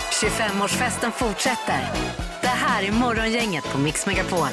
25-årsfesten fortsätter. Det här är Morgongänget på Mix Megapol.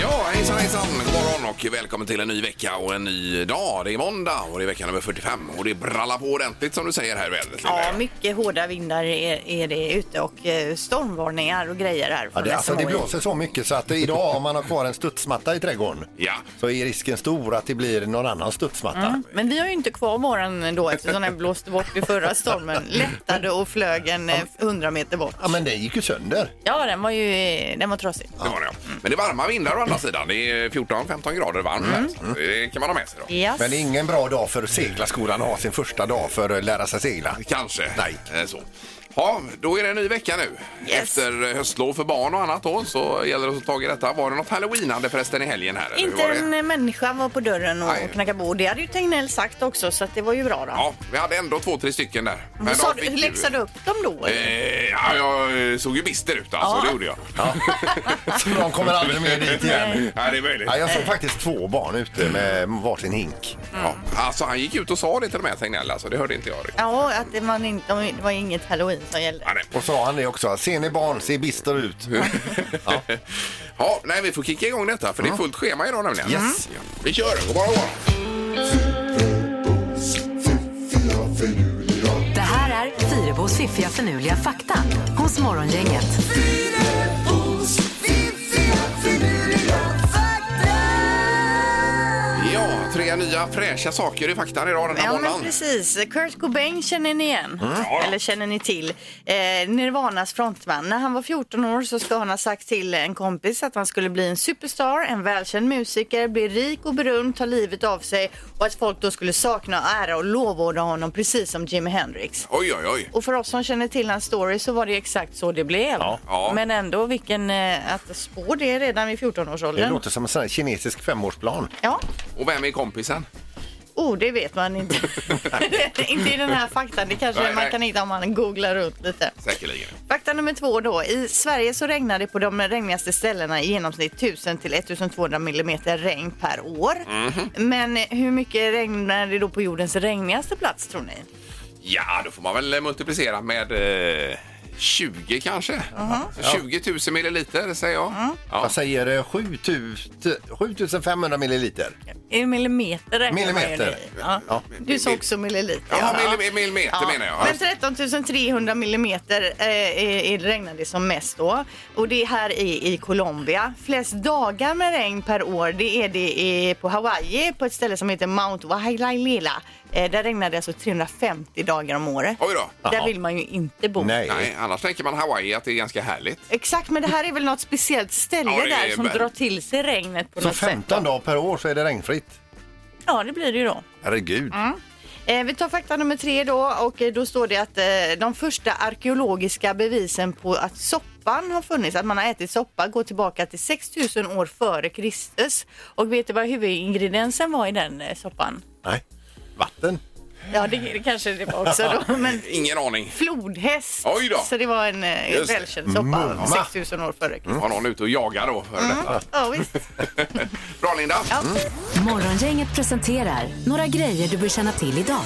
Ja, hejsan hejsan! God morgon och välkommen till en ny vecka och en ny dag. Det är måndag och det är vecka nummer 45 och det brallar på ordentligt som du säger här i vädret. Ja, mycket hårda vindar är, är det ute och eh, stormvarningar och grejer här. Ja, från det, alltså, det SMHI. blåser så mycket så att idag om man har kvar en studsmatta i trädgården Ja. så är risken stor att det blir någon annan studsmatta. Men vi har ju inte kvar våran då eftersom den blåste bort vid förra stormen. Lättade och flög en eh, 100 meter bort. Ja, men den gick ju sönder. Ja, den var ju eh, den var trasig. Det var det, ja. Men det är varma vindar å andra sidan. Det är 14-15 grader varmt Mm. här. Så det kan man ha med sig då. Yes. Men det är ingen bra dag för seglarskolan att ha sin första dag för att lära sig segla. Kanske. Nej. Eh, Så. Ja, då är det en ny vecka nu. Yes. Efter höstlov för barn och annat då så gäller det att ta tag i detta. Var det något halloweenande förresten i helgen här? eller hur Inte var det? en eh, människa var på dörren och Nej. och knackade på. Det hade ju Tegnell sagt också så att det var ju bra då. Ja, vi hade ändå två, tre stycken där. Men de Sa, fick ju- läxade du upp dem då? eller? Eh, ja, jag eh, såg ju bister ut alltså, Ja. det gjorde jag. Så de kommer aldrig mer dit igen. Ja, det är möjligt. Ja, jag såg faktiskt två barn ute med varsin hink. Ja, alltså han gick ut och sa det till de här Tegnell, alltså, det hörde inte jag riktigt. Ja, att det, man inte, det var inget halloween som gällde. Ja, nej. Och sa han det också. Ser ni barn, ser bister ut. Ja. ja, nej, vi får kicka igång detta för det är fullt schema idag nämligen. Mm. Yes. Ja. Vi kör, god morgon, god morgon. Det här är Fyrebos fiffiga förnuliga fakta hos Morgongänget. Ja, tre nya fräscha saker i faktan idag den här Ja, men måndagen. precis. Kurt Cobain känner ni igen. Mm. Ja. Eller känner ni till. Eh, Nirvanas frontman. När han var 14 år så ska han ha sagt till en kompis att han skulle bli en superstar, en välkänd musiker, bli rik och berömd, ta livet av sig och att folk då skulle sakna och ära och lovorda honom precis som Jimi Hendrix. Oj, oj, oj. Och för oss som känner till hans story så var det exakt så det blev. Ja. Men ändå vilken, eh, att spå det redan vid Det 14-årsåldern. låter som en sån här kinesisk femårsplan. Ja, Och vem är kompisen? Oh, det vet man inte. inte i den här faktan. Det kanske Nej, man nej. kan hitta om man googlar runt lite. Säkerligen. Fakta nummer två då. I Sverige så regnar det på de regnigaste ställena i genomsnitt 1000 till 1200 millimeter regn per år. Men hur mycket regnar det då på jordens regnigaste plats tror ni? Ja, då får man väl multiplicera med eh, 20 kanske. Uh-huh. 20 000 milliliter säger jag. Mm. Ja. Jag säger eh, 7000 7500 milliliter. I millimeter räknar man ju Millimeter. det i. Ja. Ja. Du sa också milliliter. Jaha, millim- millimeter menar jag. Men 13 300 millimeter eh, är- är- regnar det som mest då. Och det här är i Colombia. Flest dagar med regn per år det är det i, på Hawaii på ett ställe som heter Mount Wahilalela. Eh, där regnar det alltså 350 dagar om året. Oj då. Där vill man ju inte bo. Nej. Oh, Nej, annars tänker man Hawaii att det är ganska härligt. Exakt, men det här är väl något speciellt ställe Ja, det är där som väl- drar till sig regnet på Så något sätt. 15 dagar per år så är det regnfritt. Ja, det blir det ju då. Herregud. Eh, vi tar fakta nummer tre då och eh, då står det att eh, de första arkeologiska bevisen på att soppan har funnits, att man har ätit soppa, går tillbaka till 6000 år före Kristus. Och vet du vad huvudingrediensen var i den eh, soppan? Nej. Vatten. Ja, det, det kanske det var också då, men Ingen aning. flodhäst. Oj då. Så det var en eh, Just det. Mm. välkänd soppa Mumma. 6000 år före Kristus. Var någon ute och jagade då före detta? Ja, visst. Bra Linda! Morgongänget presenterar några grejer du bör känna till idag.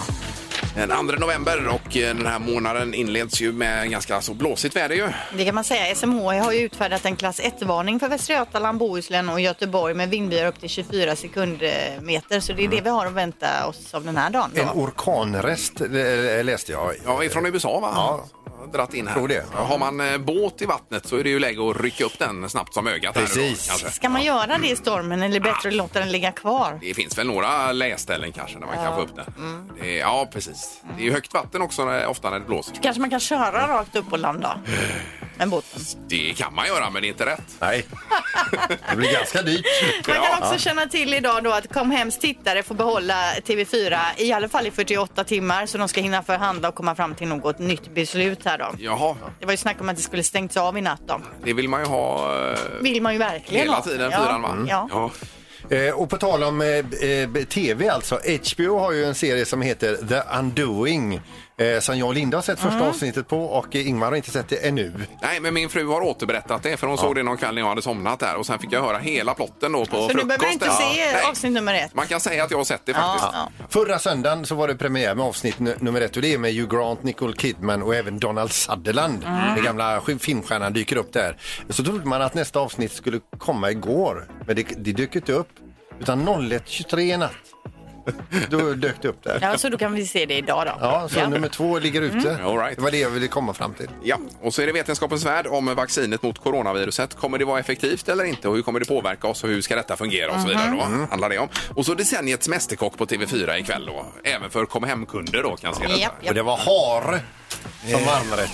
Den 2 november och eh, den här månaden inleds ju med ganska så blåsigt väder ju. Det kan man säga. SMHI har ju utfärdat en klass 1-varning för Västra Götaland, Bohuslän och Göteborg med vindbyar upp till 24 sekundmeter. Så det är det Mm. vi har att vänta oss av den här dagen. En Då. orkanrest eh, läste jag. Ja, ifrån USA va? Ja. Dratt in här. Tror det. Har man eh, båt i vattnet så är det ju läge att rycka upp den snabbt som ögat. här nu då, Precis. kanske. Ska man göra det i stormen eller bättre att låta den ligga kvar? Det finns väl några läställen kanske där man kan få upp den. Det är, ja, precis. Det är ju högt vatten också när, ofta när det blåser. Kanske man kan köra rakt upp och landa med båten. Det kan man göra, men det är inte rätt. Nej. Det blir ganska dyrt. Man Ja. kan också känna till idag då att Comhems tittare får behålla TV4 i alla fall i 48 timmar så de ska hinna förhandla och komma fram till något nytt beslut här då. Jaha, Det var ju snack om att det skulle stängts av i natt då. det vill man ju ha eh, vill man ju verkligen hela ha. tiden, Ja. Mm. fyran va? Ja. Ja. Eh, och på tal om eh, eh, tv alltså. HBO har ju en serie som heter The Undoing. eh, som jag och Linda har sett första avsnittet på och eh, Ingmar har inte sett det ännu. Nej, men min fru har återberättat det för hon såg det någon kväll när jag hade somnat där och sen fick jag höra hela plotten då på Så du behöver frukosten. inte Ja. se Nej, avsnitt nummer ett. Man kan säga att jag har sett det faktiskt. Ja, Förra söndagen så var det premiär med avsnitt nu- nummer ett och det är med Hugh Grant, Nicole Kidman och även Donald Sutherland. Den gamla sk- filmstjärnan dyker upp där. Så trodde man att nästa avsnitt skulle komma igår, men det, det dök inte upp. Utan 01.23 i natt, då dök det upp där. ja, Mm. så då kan vi se det idag då. Ja, så nummer två ligger ute. All right. Det var det jag ville komma fram till. Ja, och så är det Vetenskapens värld om vaccinet mot coronaviruset. Kommer det vara effektivt eller inte? Och hur kommer det påverka oss och hur ska detta fungera och så vidare Mhm. då, Mm. handlar det om. Och så Decenniets Mästerkock på TV4 ikväll då. Även för kom hem-kunder då kan jag se detta. Japp, Och japp. det var hare som var varmrätt.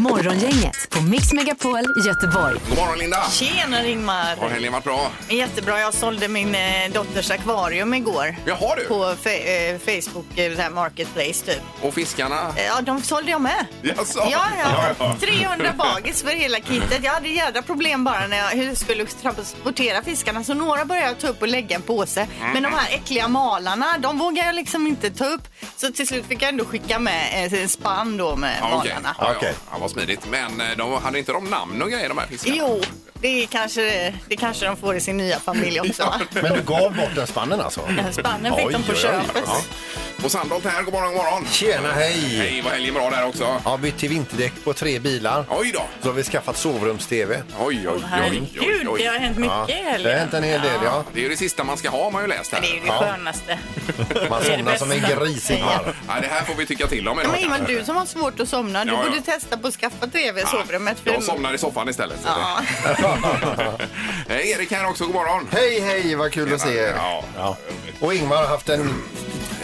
Morgongänget på Mix Megapol Göteborg. God morgon Linda! Tjena Ingmar! Har helgen varit bra? Jättebra, jag sålde min eh, dotters akvarium igår. Jaha du! På fe- eh, Facebook, eh, så här Marketplace typ. Och fiskarna? Eh, Ja, de sålde jag med. Jaså? Ja, ja. ja. 300 bagis för hela kittet. Jag hade jädra problem bara när jag hur jag skulle transportera fiskarna. Så några började jag ta upp och lägga i en påse. Men de här äckliga malarna, de vågar jag liksom inte ta upp. Så till slut fick jag ändå skicka med eh, en spann då med Ja, okej. malarna. Ja, ja. Okej. ja, vad smidigt. Men eh, de, hade inte de namn och grejer de här fiskarna? Jo, det är kanske, det kanske de får i sin nya familj också. va? Men du gav bort den spannen alltså? Spannen fick de Oj, på oj, oj. köpet. Ja. Och Sandholt här, god morgon, god morgon. Tjena, hej! Hej, vad helgen bra där också. Har bytt till vinterdäck på tre bilar. Oj då! Så har vi skaffat sovrums-tv. Oj, oj, oj, oj, Herregud, det har oj. hänt mycket i Det har helgen. hänt en hel del, ja. Det är ju det sista man ska ha har man ju läst här. Det är ju det Ja. skönaste. Man Det är det somnar som en bästa. gris Ingmar. Ja, det här får vi tycka till om Ja, idag. Men Ingmar, du som har svårt att somna, du Ja, ja. borde testa på att skaffa tv i Ja, sovrummet. för- Jag somnar i soffan istället. Ja. Eh, Erik här också, god morgon. Hej, hej, vad kul att se er. Ja. Ja. Och Ingmar har haft en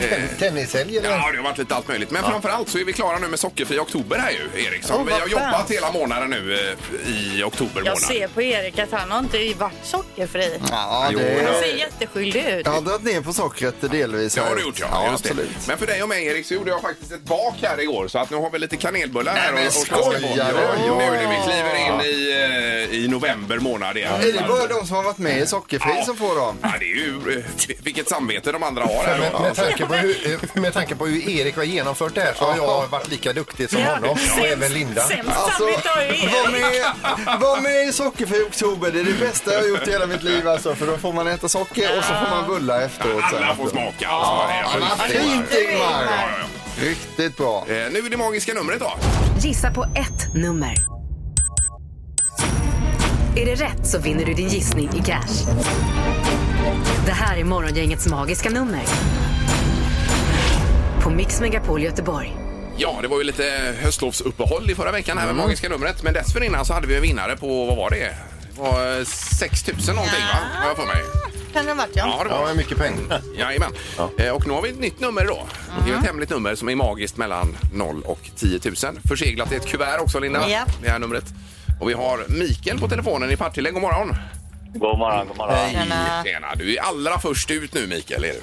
Eh. ten- tennishelg, det eller? har varit lite allt möjligt. Men framför allt så är vi klara nu med sockerfri oktober här ju, Erik. Som Åh, vi vad har skönt. jobbat hela månaden nu eh, i oktober månad. Jag ser på Erik att han har inte varit sockerfri. Ja, Han det... ser jätteskyldig ut. Jag har dragit ner på sockret delvis. Det har här. du gjort ja. ja Just det. absolut. Men för dig och mig Erik så gjorde jag faktiskt ett bak här igår så att nu har vi lite kanelbullar här. men och- och skojar ska- du? Nu när vi kliver in i, eh, i november månad igen. Är det bara de som har varit med i Sockerfri Ja. som får dem? Ja, det är ju eh, vilket samvete de andra har här Med, då. med, tanke på hur, eh, med tanke på hur Erik har genomfört det här så har jag varit lika duktig som honom och även Linda. Sämst samvete har ju Alltså, var Erik. med, var med i Sockerfri i oktober. Det är det bästa jag har gjort i hela mitt liv. Alltså, för då får man äta socker och så får man bullar efteråt. sen. Alla får smaka. Ja, Vad det är ju- Fint Ingmar! Riktigt bra. Eh, Nu är det magiska numret då. Gissa på ett nummer. Är det rätt så vinner du din gissning i cash. Det här är Morgongängets magiska nummer. På Mix Megapol Göteborg. Ja, det var ju lite höstlovsuppehåll i förra veckan här med magiska numret. Men dessförinnan så hade vi en vinnare på, vad var det? Det var eh, 6 000 någonting va? Har jag för mig. Kan det ha varit, ja. Ja, det var Ja, men mycket pengar. Jajamän. Eh, Och nu har vi ett nytt nummer då. Det är ett hemligt nummer som är magiskt mellan 0 och 10 000. Förseglat i ett kuvert också, Linda. Ja. Det här numret. Och vi har Mikael på telefonen i Partille. God morgon! God morgon, god morgon. Hej. Tjena. Tjena! Du är allra först ut nu, Mikael. Är du?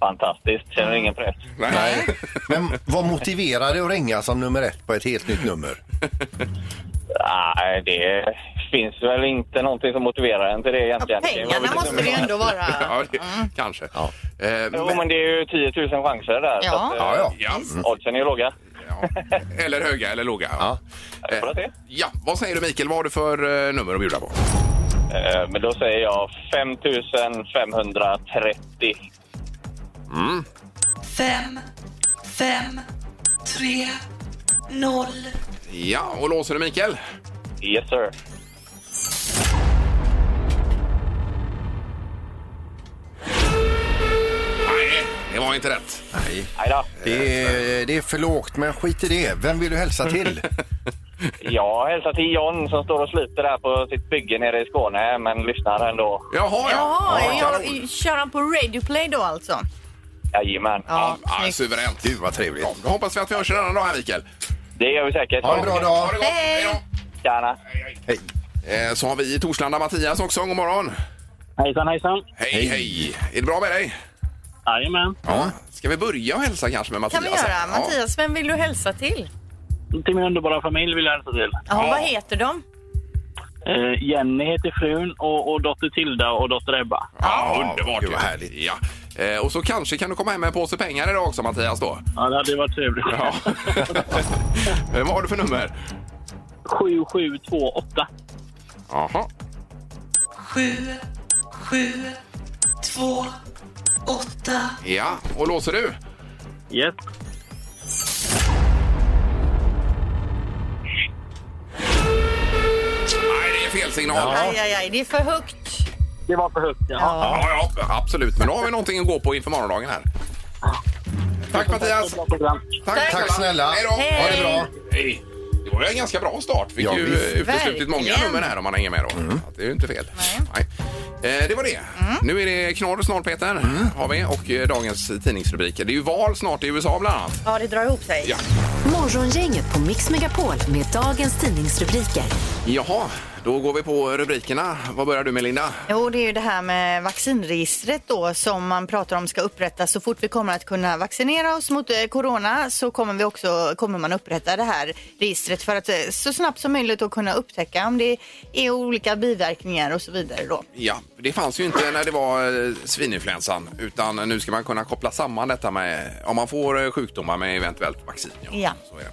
Fantastiskt. Känner ingen press. Nej. Men vad motiverar det att ringa som nummer ett på ett helt nytt nummer? Nej, det finns väl inte någonting som motiverar en till det Ja, egentligen. Det pengarna var väl- liksom- måste det ju ändå vara. Ja, det, kanske. Mm. Ja. Eh, Jo, men det är ju 10 000 chanser där. Ja. så att, eh, Ja, ja. ja. Mm. Oddsen är ju låga. ja. Eller höga eller låga. Ja. Eh, Jag får se. ja. Vad säger du, Mikael? Vad har du för eh, nummer att bjuda på? Eh, Men då säger jag 5 530. fem, fem, tre, noll. Ja, och låser du, Mikael? Yes, sir. Nej, det var inte rätt. Aj då. Det är, det är för lågt, men skit i det. Vem vill du hälsa till? Jag hälsar till John som står och sliter där på sitt bygge nere i Skåne, men lyssnar ändå. Jaha, ja. Jaha, ja, jag, kör han på Radio Play då alltså? Jajamän. Ja, Ja, alltså, snyggt. suveränt. Gud, vad trevligt. Ja, Då hoppas vi att vi hörs en annan dag här, Mikael. Det gör vi säkert. Ha en bra dag. Ha det gott. Hej. Hej Tjena. Hej. då. Eh, Så har vi i Torslanda Mattias också. God morgon. Hejsan, hejsan. Hej, hej. Är det bra med dig? Jajamän. Ja. Ska vi börja och hälsa kanske med Mattias? kan vi göra. alltså, Ja. Mattias, vem vill du hälsa till? Till min underbara familj vill jag hälsa till. Ja, Vad heter de? Eh, Jenny heter frun och, och dotter Tilda och dotter Ebba. Ja, underbart. Gud, vad ju. härligt. Ja. Eh, och så kanske kan du komma hem med en påse pengar idag också Mattias då. Ja, det hade ju varit trevligt. Ja. Eh, Vad har du för nummer? 7728. Jaha. sju, sju, två, åtta, Ja, och låser du? Yes. Nej, det är fel signal. Ja. Aj, aj, aj, det är för högt. Det var för högt, ja. Ja, absolut. Men då har vi någonting att gå på inför morgondagen här. Tack Mattias! Tack. Tack snälla. Hej då! Hej. Ha det bra! Hej! Det var ju en ganska bra start. Fick Ja, ju visst. uteslutit många Verkligen. nummer här om man hänger med då. Så att Det är ju inte fel. Nej. Eh, Det var det. Nu är det knorr snart Peter. Har vi. Och eh, dagens tidningsrubriker. Det är ju val snart i USA bland annat. Ja, det drar ihop sig. Ja. Morgongänget på Mix Megapol med dagens tidningsrubriker. Jaha, då går vi på rubrikerna. Vad börjar du med Linda? Jo, det är ju det här med vaccinregistret då som man pratar om ska upprättas. Så fort vi kommer att kunna vaccinera oss mot eh, corona så kommer, vi också, kommer man upprätta det här registret för att eh, så snabbt som möjligt att kunna upptäcka om det är olika biverkningar och så vidare då. Ja, det fanns ju inte när det var eh, svininfluensan utan nu ska man kunna koppla samman detta med om man får eh, sjukdomar med eventuellt vaccin. Ja. Så är det.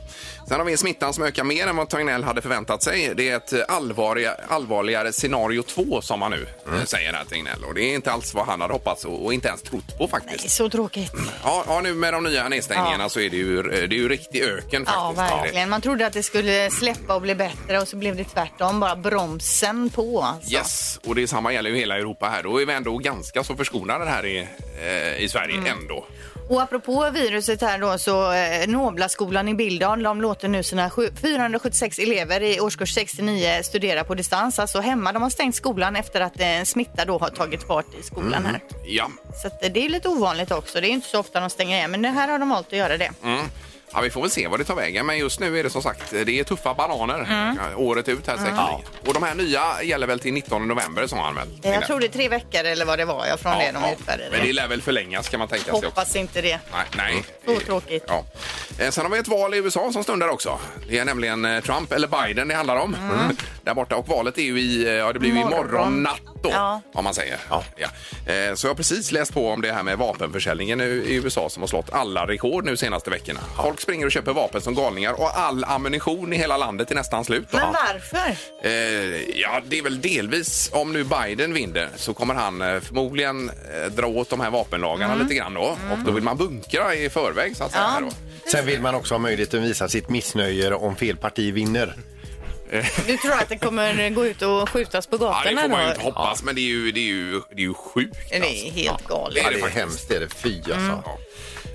Sen har vi smittan som ökar mer än vad Tegnell hade förväntat sig. Det är ett eh, allvarliga, allvarligare scenario 2 som man nu eh, säger här Tegnell och det är inte alls vad han hade hoppats och, och inte ens trott på faktiskt. Det är så tråkigt. Ja, ja, nu med de nya nedstängningarna så är det ju, eh, det är ju riktig öken Ja, faktiskt. verkligen. Man trodde att det skulle släppa och bli bättre och så blev det tvärtom. Bara bromsen på. Alltså. Yes, och det samma gäller ju hela Europa här. Då är vi ändå ganska så förskonade här i, eh, i Sverige Mm. ändå. Och apropå viruset här då så eh, Noblaskolan i Billdal de låter nu sina sju- 476 elever i årskurs 69 studera på distans, alltså hemma. De har stängt skolan efter att eh, en smitta då har tagit fart i skolan Mm. här. Ja, Så att, eh, det är lite ovanligt också. Det är ju inte så ofta de stänger igen, men det här har de valt att göra det. Mm. Ja, vi får väl se vad det tar vägen, men just nu är det som sagt det är tuffa bananer Mm. ja, året ut här säkert. Och de här nya gäller väl till 19 november som han väl? Eh, Jag tror det är tre veckor eller vad det var ja, från det de utfärdade. Men det lär väl förlängas kan man tänka sig också. Hoppas inte det. Nej, nej. Så tråkigt. Ja. Eh, Sen har vi ett val i USA som stundar också. Det är nämligen eh, Trump eller Biden det handlar om. Där borta. Och valet är ju i, eh, ja, det blir ju Mm. Imorgon. imorgon natt då, Ja. om man säger. Ja. Eh, Så jag har precis läst på om det här med vapenförsäljningen nu i USA som har slått alla rekord nu senaste veckorna. Folk springer och köper vapen som galningar och all ammunition i hela landet är nästan slut. då. Men varför? Eh, ja, det är väl delvis om nu Biden vinner så kommer han eh, förmodligen eh, dra åt de här vapenlagarna lite grann då. Och då vill man bunkra i förväg så att säga. här Då. Sen vill man också ha möjligheten att visa sitt missnöje om fel parti vinner. Du tror att det kommer gå ut och skjutas på Ja, det gatorna får man ju då? inte hoppas, men det är ju, det är ju, det är ju sjukt. Det är helt galet. Ja, det det är faktiskt. hemskt, det är det. Fy alltså. Ja.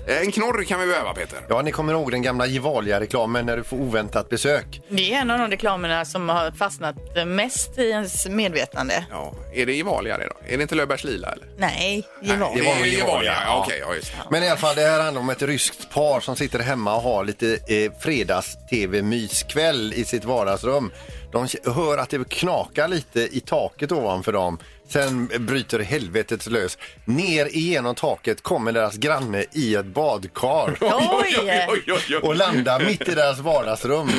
Eh, En knorr kan vi behöva, Peter. Ja, ni kommer ihåg den gamla Gevalia-reklamen när du får oväntat besök. Det är en av de reklamerna som har fastnat mest i ens... Ens medvetande. Ja. Är det Gevalia det då? Är det inte Löfbergs Lila? Eller? Nej, Gevalia. det var väl Gevalia? Gevalia, Ja, okej, ja, just det. Men i alla fall, det här handlar om ett ryskt par som sitter hemma och har lite eh, fredags-tv-myskväll i sitt vardagsrum. De k- hör att det knakar lite i taket ovanför dem. Sen bryter helvetet lös. Ner igenom taket kommer deras granne i ett badkar Oj! oj, oj, och landar mitt i deras vardagsrum.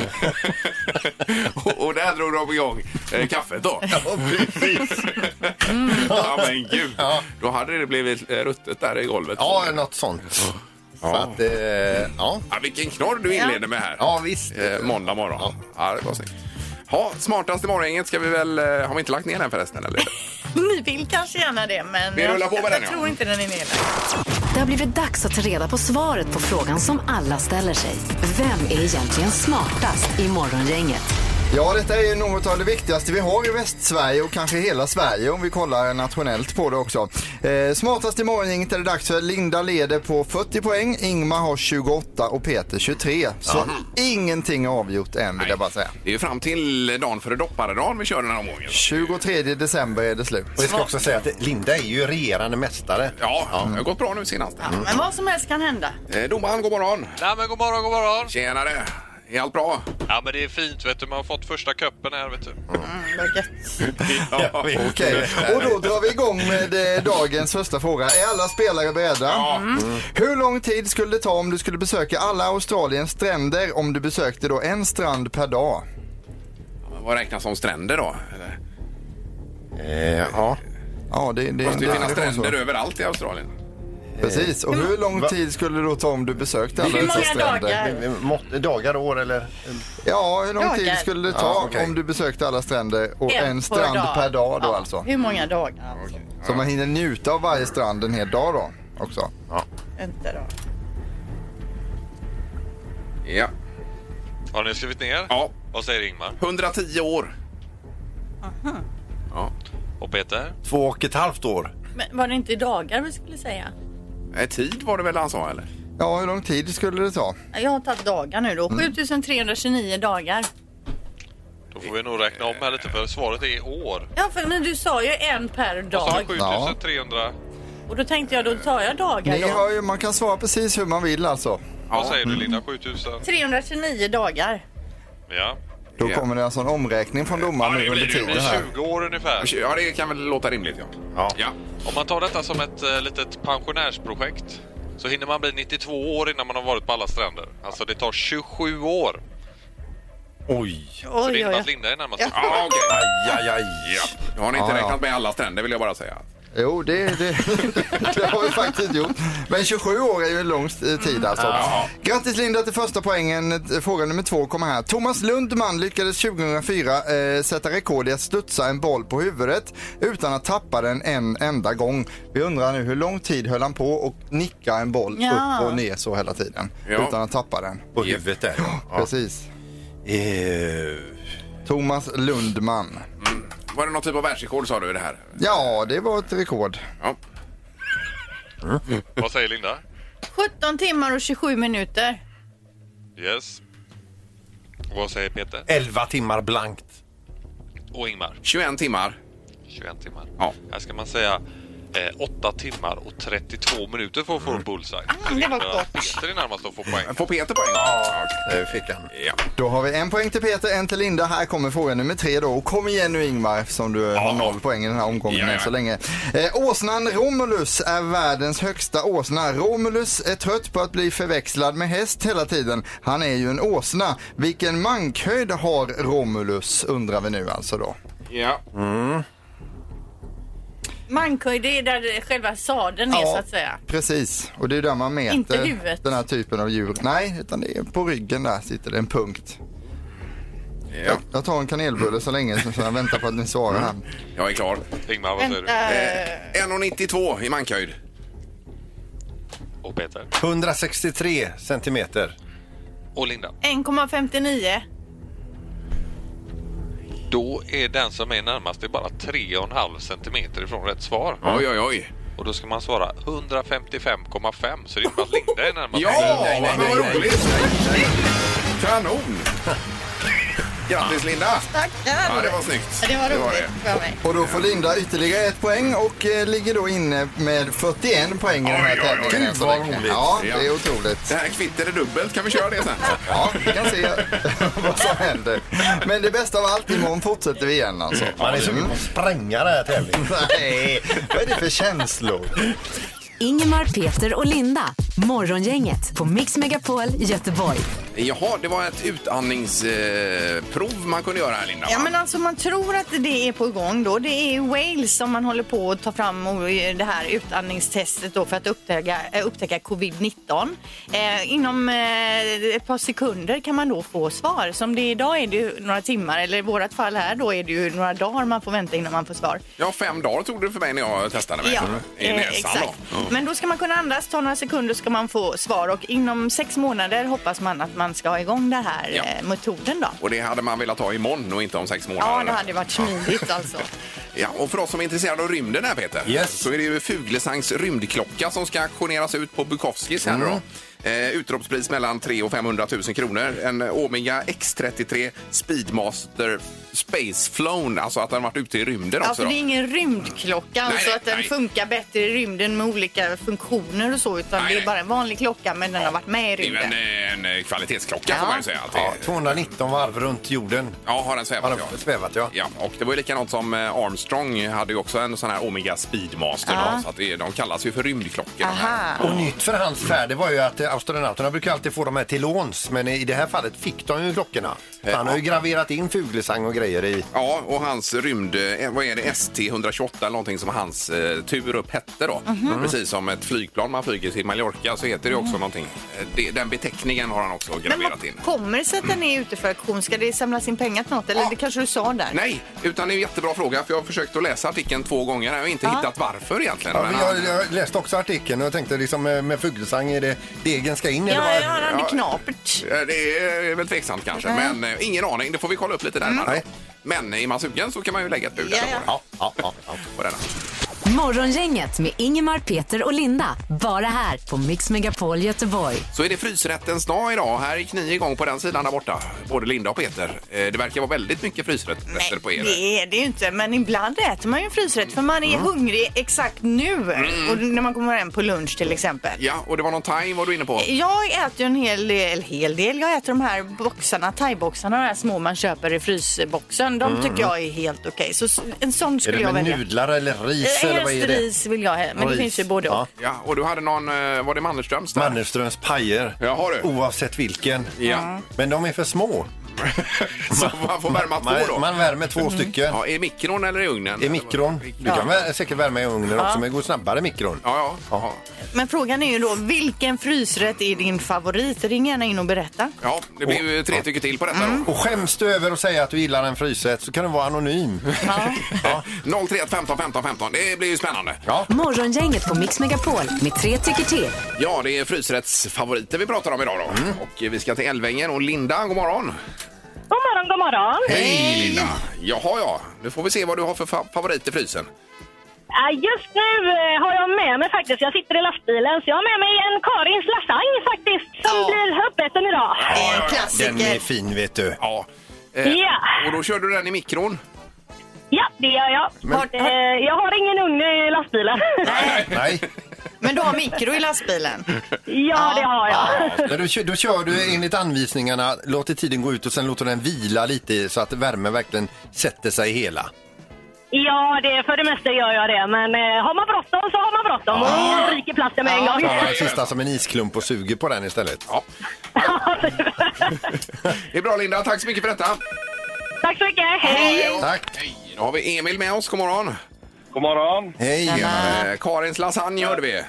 Och, och där drog de igång eh, kaffet då. Ja, precis. ja, men gud. Då hade det blivit eh, ruttet där i golvet. Ja, något sånt. Så att, eh, ja. Ja, vilken knorr du inleder med här. ja, visst. Eh, måndag morgon. Ja. det var snyggt. Ja, smartast i morgongänget ska vi väl... eh, Har vi inte lagt ner den förresten? Eller? Ni vill kanske gärna det, men... Vi rullar på med den, Jag ja. tror inte den är nedlagd. Det har blivit dags att ta reda på svaret på frågan som alla ställer sig. Vem är egentligen smartast i morgongänget? Ja, detta är ju något av det viktigaste vi har i Västsverige och kanske hela Sverige om vi kollar nationellt på det också. Eh, smartast i morgongänget är det dags för Linda leder på 40 poäng, Ingmar har 28 och Peter 23. Så ingenting är avgjort än vill jag bara säga. Det är ju fram till dagen före dopparedagen vi kör den här omgången. 23 december är det slut. Och jag ska också säga att Linda är ju regerande mästare. Ja, det har gått bra nu senast. Men vad som helst kan hända. Eh, domaren, god morgon! Nej men god morgon, god morgon! Tjenare! Är allt bra? Ja men det är fint vet du, man har fått första cupen här vet du. Ja, Okej, och då drar vi igång med eh, dagens första fråga. Är alla spelare beredda? Mm. Ja. Hur lång tid skulle det ta om du skulle besöka alla Australiens stränder om du besökte då en strand per dag? Vad räknas som stränder då? Eller? Eh, ja. Ja, det, det, Det måste ju det- finnas det var så. stränder överallt i Australien. Precis, och hur lång Va- tid skulle det då ta om du besökte alla Hur många dessa stränder? dagar? Mått- Dagar, år eller? Ja, hur lång tid Dagar. skulle det ta Ja, okej. om du besökte alla stränder och En en, per strand dag. per dag då Ja. alltså? Hur många dagar alltså? Så man hinner njuta av varje strand en hel dag då också. Alltså, Vänta då. Ja. Har ni skrivit ner? ja, Vad säger Ingmar? 110 år. Ja. Och Peter? Två och ett halvt år. Men var det inte dagar vi skulle säga? Nej, Eh, Tid var det väl han sa eller? Ja, hur lång tid skulle det ta? Jag har tagit dagar nu då. 7329 dagar. Då får vi nog räkna om här lite för svaret är år. Ja, för men du sa ju en per Och så är det dag. 7300. Och då tänkte jag, då tar jag dagar Ni då. hör ju, man kan svara precis hur man vill alltså. Vad säger du Linda? 7000? 329 dagar. Ja. Då Ja. kommer det alltså en omräkning från domaren nu under Det tiden här. blir 20 år ungefär. Ja, det kan väl låta rimligt ja. Ja. ja. Om man tar detta som ett eh, litet pensionärsprojekt så hinner man bli 92 år innan man har varit på alla stränder. Alltså det tar 27 år. Oj. Så det Oj, oj, innebär att oj. Linda är närmast. Ja. Ja, okej. Aj, aj, aj. Ja. Nu har ni inte Ja, ja. räknat med alla stränder vill jag bara säga. Jo, det, det, det har vi faktiskt gjort. Men 27 år är ju en lång eh, tid alltså. Grattis Linda till första poängen. Fråga nummer två kommer här. Thomas Lundman lyckades 2004 eh, sätta rekord i att studsa en boll på huvudet utan att tappa den en enda gång. Vi undrar nu hur lång tid höll han på och nicka en boll Ja. upp och ner så hela tiden Ja. utan att tappa den. På huvudet där. Ja. Precis. Eh, Thomas Lundman. Var det någon typ av världsrekord sa du i det här? Ja, det var ett rekord. Ja. Vad säger Linda? 17 timmar och 27 minuter. Yes. Vad säger Peter? 11 timmar blankt. Och Ingmar? 21 timmar. 21 timmar. Ja. Här ska man säga eh, 8 timmar och 32 minuter för att få en bullseye. Mm, det var Så gott. Peter är närmast att få poäng. Får Peter poäng? Ja. Eh, fick han. ja. Då har vi en poäng till Peter, en till Linda. Här kommer fråga nummer tre då. Och kom igen nu Ingmar eftersom du har noll poäng i den här omgången Ja, ja. än så länge. Eh, åsnan Romulus är världens högsta åsna. Romulus är trött på att bli förväxlad med häst hela tiden. Han är ju en åsna. Vilken mankhöjd har Romulus undrar vi nu alltså då. ja. Mankhöjd, det är där själva sadeln är så att säga. precis. Och det är där man mäter Inte huvudet. den här typen av djur. Nej, utan det är på ryggen där sitter det en punkt. ja. Jag tar en kanelbulle så länge så jag väntar på att ni svarar här. Jag är klar. Eh, Ingmar, vad säger du? Vänta. 1,92 i mankhöjd. Och Peter? 163 centimeter. Och Linda? 1,59. Då är den som är närmast det är bara 3,5 centimeter ifrån rätt svar. Oj, oj, oj. Och då ska man svara 155,5 så det innebär att Linda är närmast. Ja, nej, nej, men vad nej, nej. roligt! Kanon! Grattis Linda! Tackar! Ja, det var snyggt. Det var Det var roligt för mig. Och då får Linda ytterligare ett poäng och eh, ligger då inne med 41 poäng i den här Oj, oj, oj. tävlingen. än så Gud, vad länge. roligt. Ja, Ja. det är otroligt. Det här kvitt eller dubbelt, kan vi köra det sen? Ja, vi kan se vad som händer. Men det bästa av allt, imorgon fortsätter vi igen alltså. Man är sugen på att spränga den här tävlingen. Nej, vad är det för känslor? Ingemar, Peter och Linda. Morgongänget på Mix Megapol Göteborg. Jaha, det var ett utandningsprov man kunde göra här Linda. Ja, va? men alltså man tror att det är på gång då. Det är i Wales som man håller på att ta fram och, eh, det här utandningstestet då för att upptäcka, eh, upptäcka covid-19. Eh, inom eh, ett par sekunder kan man då få svar. Som det är idag är det ju några timmar, eller i vårat fall här då är det ju några dagar man får vänta innan man får svar. Ja, fem dagar tog det för mig när jag testade mig. Mm. Ja, I eh, näsan exakt. då. Mm. Ja. Men då ska man kunna andas, ta några sekunder ska man få svar och inom sex månader hoppas man att man ska ha igång den här Ja. eh, metoden då. Och det hade man velat ha imorgon och inte om sex månader. Ja, det hade varit smidigt alltså. Ja, och för oss som är intresserade av rymden här Peter, Yes. så är det ju Fuglesangs rymdklocka som ska auktioneras ut på Bukowskis här Mm. nu då. Eh, utropspris mellan 300 000 och 500 000 kronor. En Omega X33 Speedmaster Space Flown, alltså att den varit ute i rymden Ja, också för det då. är ingen rymdklocka, alltså nej, att den nej. funkar bättre i rymden med olika funktioner och så, utan Nej, det nej. är bara en vanlig klocka, men den har varit med i Det är ju rymden. en, eh, en kvalitetsklocka får Ja. man ju säga. Att det, Ja, ja. 219 varv runt jorden. har den svävat Har ja. den svävat, ja. Ja, och det var ju likadant som eh, Armstrong hade ju också en sån här Omega Speedmaster. Då, så att det, de kallas ju för rymdklockor. de här. Aha. Och nytt för hans färd det var ju att eh, eh, astronauterna brukar alltid få de här till låns, men i det här fallet fick de ju klockorna. Han har ju graverat in fuglesang och grejer i... Ja, och hans rymd, eh, vad är det, ST-128 eller någonting som hans eh, tur upp hette då. Mm. Mhm. Precis som ett flygplan man flyger till Mallorca så heter det också Mm. någonting. Eh, Det, den beteckningen har han också graverat in. Kommer det sig att den är ute för auktion? Ska det samlas in pengar till något? Eller det kanske du sa där? Nej, utan det är en jättebra fråga för jag har försökt att läsa artikeln två gånger och jag har inte Ja. hittat varför egentligen. Ja, men men han- jag, jag läste också artikeln och jag tänkte liksom eh, med fuglesang, är det degen ska in? Ja, eller vad? jag har han i Ja. knapert. Eh, Det är väl tveksamt kanske, Nej. men eh, ingen aning. Det får vi kolla upp lite närmare. Men är man sugen så kan man ju lägga ett bud. Ja, där. Ja, ja, ja, ja. På denna. Morgongänget med Ingemar, Peter och Linda. Bara här på Mix Megapol Göteborg. Så är det frysrättens dag idag. Här gick ni igång på den sidan där borta, både Linda och Peter. Eh, Det verkar vara väldigt mycket frysrätter på er. Det är det ju inte, men ibland äter man ju en frysrätt för man är Mm. hungrig exakt nu. Mm. Och när man kommer hem på lunch till exempel. Ja, och det var någon time var du inne på. Jag äter ju en hel del, hel del. Jag äter de här boxarna, thaiboxarna, de här små man köper i frysboxen. De Mm. tycker jag är helt okej. Så s- en sån Är skulle det jag med välja. nudlar eller ris? eller Eh, Helst vad är det? ris vill jag ha, men det Ris. finns ju både Ja. och. Ja, och du hade någon, eh, var det Mannerströms? Där? Mannerströms pajer. Oavsett vilken. Ja. Men de är för små. Så man får värma man, två då? Man värmer två stycken. Ja, I mikron eller i ugnen? I mikron. Du Mm. Ja. kan vä- säkert värma i ugnen Ja. också, men det går snabbare i mikron. Ja, ja. Men frågan är ju då, vilken frysrätt är din favorit? Ring gärna in och berätta. ja det blir ju tre tycker till på detta då. Och skäms du över att säga att du gillar en frysrätt så kan du vara anonym. Ja. 031 15 15 15, det blir ju spännande. Morgongänget på Mix Megapol med tre tycker till. Ja, det är frysrättsfavoriter vi pratar om idag då. Och vi ska till Älvängen och Linda, god morgon. God morgon, god morgon. Hej Linda! Jaha ja, nu får vi se vad du har för fa- favorit i frysen. Eh, Just nu eh, har jag med mig faktiskt, jag sitter i lastbilen, så jag har med mig en Karins lasagne faktiskt, som blir uppäten idag. Den är fin vet du. Ja. Eh, Ja. Och då kör du den i mikron? Ja, det gör jag. Men- Har- eh, Jag har ingen ugn i lastbilen. Nej. Men du har mikro i lastbilen? Ja, det har jag. Men då, kö- då kör du enligt anvisningarna, låter tiden gå ut och sen låter den vila lite så att värmen verkligen sätter sig hela. Ja, det, för det mesta gör jag det, men eh, har man bråttom så har man bråttom och ryker plasten med en gång. Ta den sista som en isklump och suger på den istället. Ja. Det är bra Linda, tack så mycket för detta. Tack så mycket, hej! Tack. Hej, då har vi Emil med oss, god morgon. God morgon. Hej. Eh, Karins lasagne hörde vi.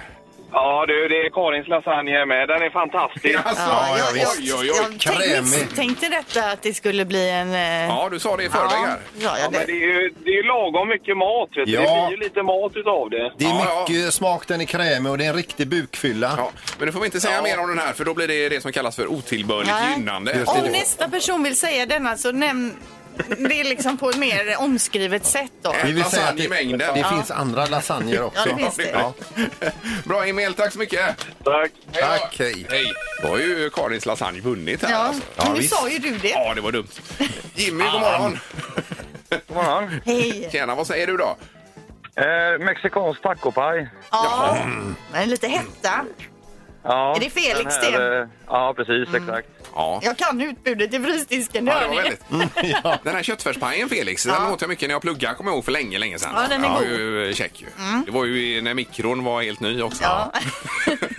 Ja du, det är Karins lasagne med. Den är fantastisk. Ja, ja, visst. Oj, oj, Jag tänkte, misstänkte detta att det skulle bli en... eh, Ja, du sa det i förväg här. Ja, Ja, men det är ju det är ju lagom mycket mat. Vet du. Ja. Det blir ju lite mat utav det. Det är mycket smak, den är krämig och det är en riktig bukfylla. Men nu får vi inte säga mer om den här för då blir det det som kallas för otillbörligt Nej. gynnande. Just Om nästa person vill säga denna så nämn det är liksom på ett mer omskrivet sätt då. Vi vill säga att det, Lasagnemängden. det Ja. finns andra lasagner också. Ja, det finns det. Bra Emil, tack så mycket. Tack. Tack, hej. Hej. Då har ju Karins lasagne vunnit här. Ja, alltså. men nu sa ju du det. Ja, det var dumt. Jimmy, god morgon. God morgon. Hej. Tjena, vad säger du då? Eh, mexikansk tacopaj. Ja, men lite hetta. Ja, Är det Mm. Felix den här, det? eh, Ja, precis. Exakt. Ja. Jag kan utbudet i frysdisken, det Ja, hör det var ni. Mm, väldigt. Den här köttfärspajen, Felix, den åt jag mycket när jag pluggade, kommer jag ihåg, för länge, länge sedan. Ja, den är var god. ju eh, käck ju. Mm. Det var ju när mikron var helt ny också.